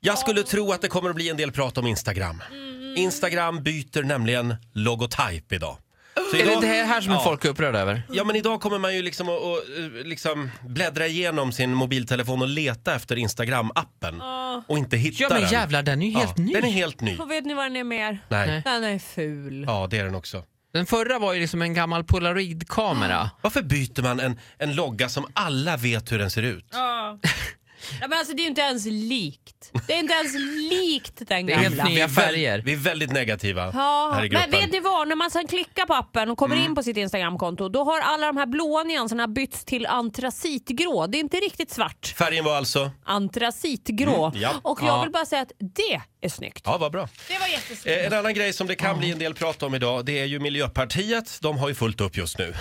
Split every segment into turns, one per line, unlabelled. Jag skulle tro att det kommer att bli en del prat om Instagram.
Mm.
Instagram byter nämligen logotyp idag. Så
Är det
idag-
det här som
Ja.
folk är upprörda över?
Ja men idag kommer man ju liksom att, att eh, liksom bläddra igenom sin mobiltelefon och leta efter Instagram-appen. Och inte hitta
Ja men
den.
jävlar, den är ju
Ja,
helt ny.
Den är helt ny.
Och vet ni vad den är mer?
Nej.
Nej.
Den är ful.
Ja det är den också.
Den förra var ju liksom en gammal polaroidkamera.
Varför byter man en, en logga som alla vet hur den ser ut?
Ja. men alltså det är ju inte ens likt. Det är inte ens likt den
Det är helt
gamla.
nya
Väl-
färger.
Vi är väldigt negativa här
Ja,
i gruppen. Mm.
men vet ni vad? När man sen klickar på appen och kommer in på sitt Instagramkonto då har alla de här blåa nyanserna bytts till antracitgrå. Det är inte riktigt svart.
Färgen var alltså?
Antracitgrå.
Mm, ja.
Och jag
Ja.
vill bara säga att det är snyggt.
Ja, vad bra.
Det var jättesnyggt.
Eh, En annan grej som det kan bli en del prat om idag, det är ju Miljöpartiet. De har ju fullt upp just nu.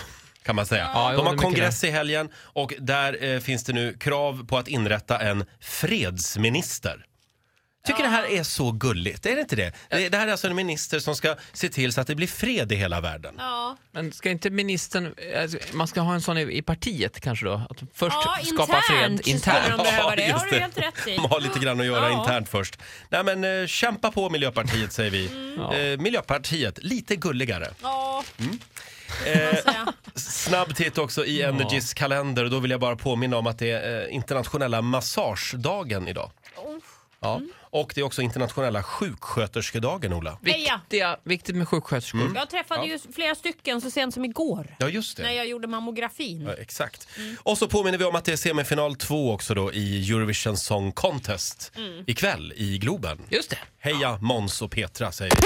Kan man säga.
Ja,
De
jo, det är
har
mycket
kongress i helgen och där eh, finns det nu krav på att inrätta en fredsminister. Tycker det här är så gulligt, är det inte det? det? Det här är alltså en minister som ska se till så att det blir fred i hela världen.
Ja.
Men ska inte ministern, alltså, man ska ha en sån i, i partiet kanske då? Att först
Ja,
skapa fred
internt så skulle
internt.
de behöva det.
just
Har du helt rätt i.
De har lite grann att göra
Ja.
internt först. Nej men eh, kämpa på Miljöpartiet säger vi.
Mm.
Eh, Miljöpartiet, lite gulligare.
Ja.
Mm. Eh, snabb titt också i Energys kalender och då vill jag bara påminna om att det är eh, internationella massagedagen idag. Ja. Och det är också internationella sjuksköterskedagen, Ola.
Heja.
Viktiga, viktigt med sjuksköterskor.
Jag träffade ju flera stycken så sent som igår
Ja, just det.
när jag gjorde mammografin.
Ja, exakt. Och så påminner vi om att det är semifinal 2 också då i Eurovision Song Contest ikväll i Globen.
Just det.
Heja Måns och Petra säger vi.